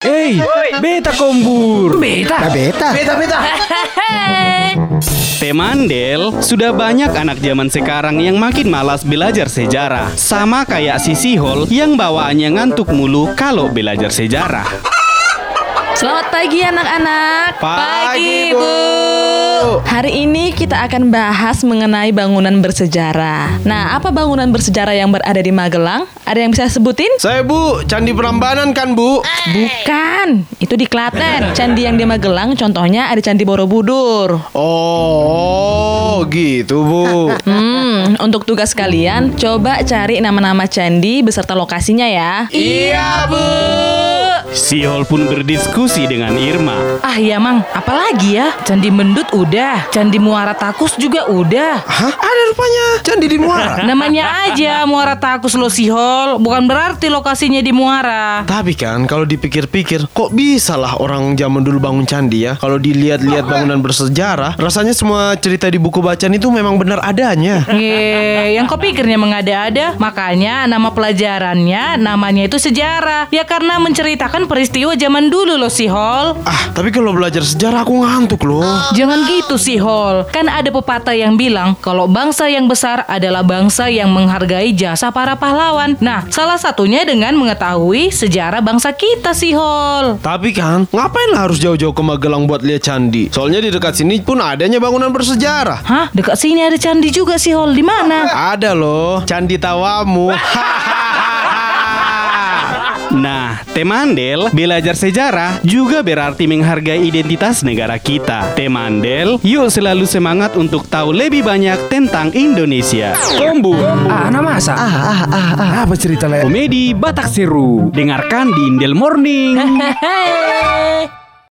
Hey, beta kombur. Beta. beta. Beta beta. Temandel, sudah banyak anak zaman sekarang yang makin malas belajar sejarah. Sama kayak si Sihol yang bawaannya ngantuk mulu kalau belajar sejarah. Selamat pagi anak-anak. Pagi, Bu. Hari ini kita akan bahas mengenai bangunan bersejarah. Nah, apa bangunan bersejarah yang berada di Magelang? Ada yang bisa sebutin? Saya Bu, Candi Prambanan kan Bu? Bukan, itu di Klaten. Candi yang di Magelang contohnya ada Candi Borobudur. Oh, gitu Bu. Hmm, untuk tugas kalian coba cari nama-nama candi beserta lokasinya ya. iya Bu. Sihol pun berdiskusi dengan Irma. Ah iya, ya Mang, apalagi ya? Candi Mendut udah, Candi Muara Takus juga udah. Hah? Ada rupanya Candi di Muara. Namanya aja Muara Takus lo Sihol, bukan berarti lokasinya di Muara. Tapi kan kalau dipikir-pikir kok bisa lah orang zaman dulu bangun candi ya Kalau dilihat-lihat bangunan bersejarah Rasanya semua cerita di buku bacaan itu memang benar adanya Ye, yang kau pikirnya mengada-ada, makanya nama pelajarannya namanya itu sejarah. Ya karena menceritakan peristiwa zaman dulu lo Sihol. Ah tapi kalau belajar sejarah aku ngantuk loh Jangan gitu Sihol, kan ada pepatah yang bilang kalau bangsa yang besar adalah bangsa yang menghargai jasa para pahlawan. Nah, salah satunya dengan mengetahui sejarah bangsa kita Sihol. Tapi kan ngapain lah harus jauh-jauh ke Magelang buat lihat candi Soalnya di dekat sini pun adanya bangunan bersejarah Hah? Dekat sini ada candi juga sih Hol. Di mana? Ada loh, candi tawamu. Nah, Temandel, belajar sejarah juga berarti menghargai identitas negara kita. Temandel, yuk selalu semangat untuk tahu lebih banyak tentang Indonesia. Kombur, Ah, nama masa. Ah, ah, ah, ah. Apa cerita le? komedi Batak Seru. Dengarkan di Indel Morning. Hehehe.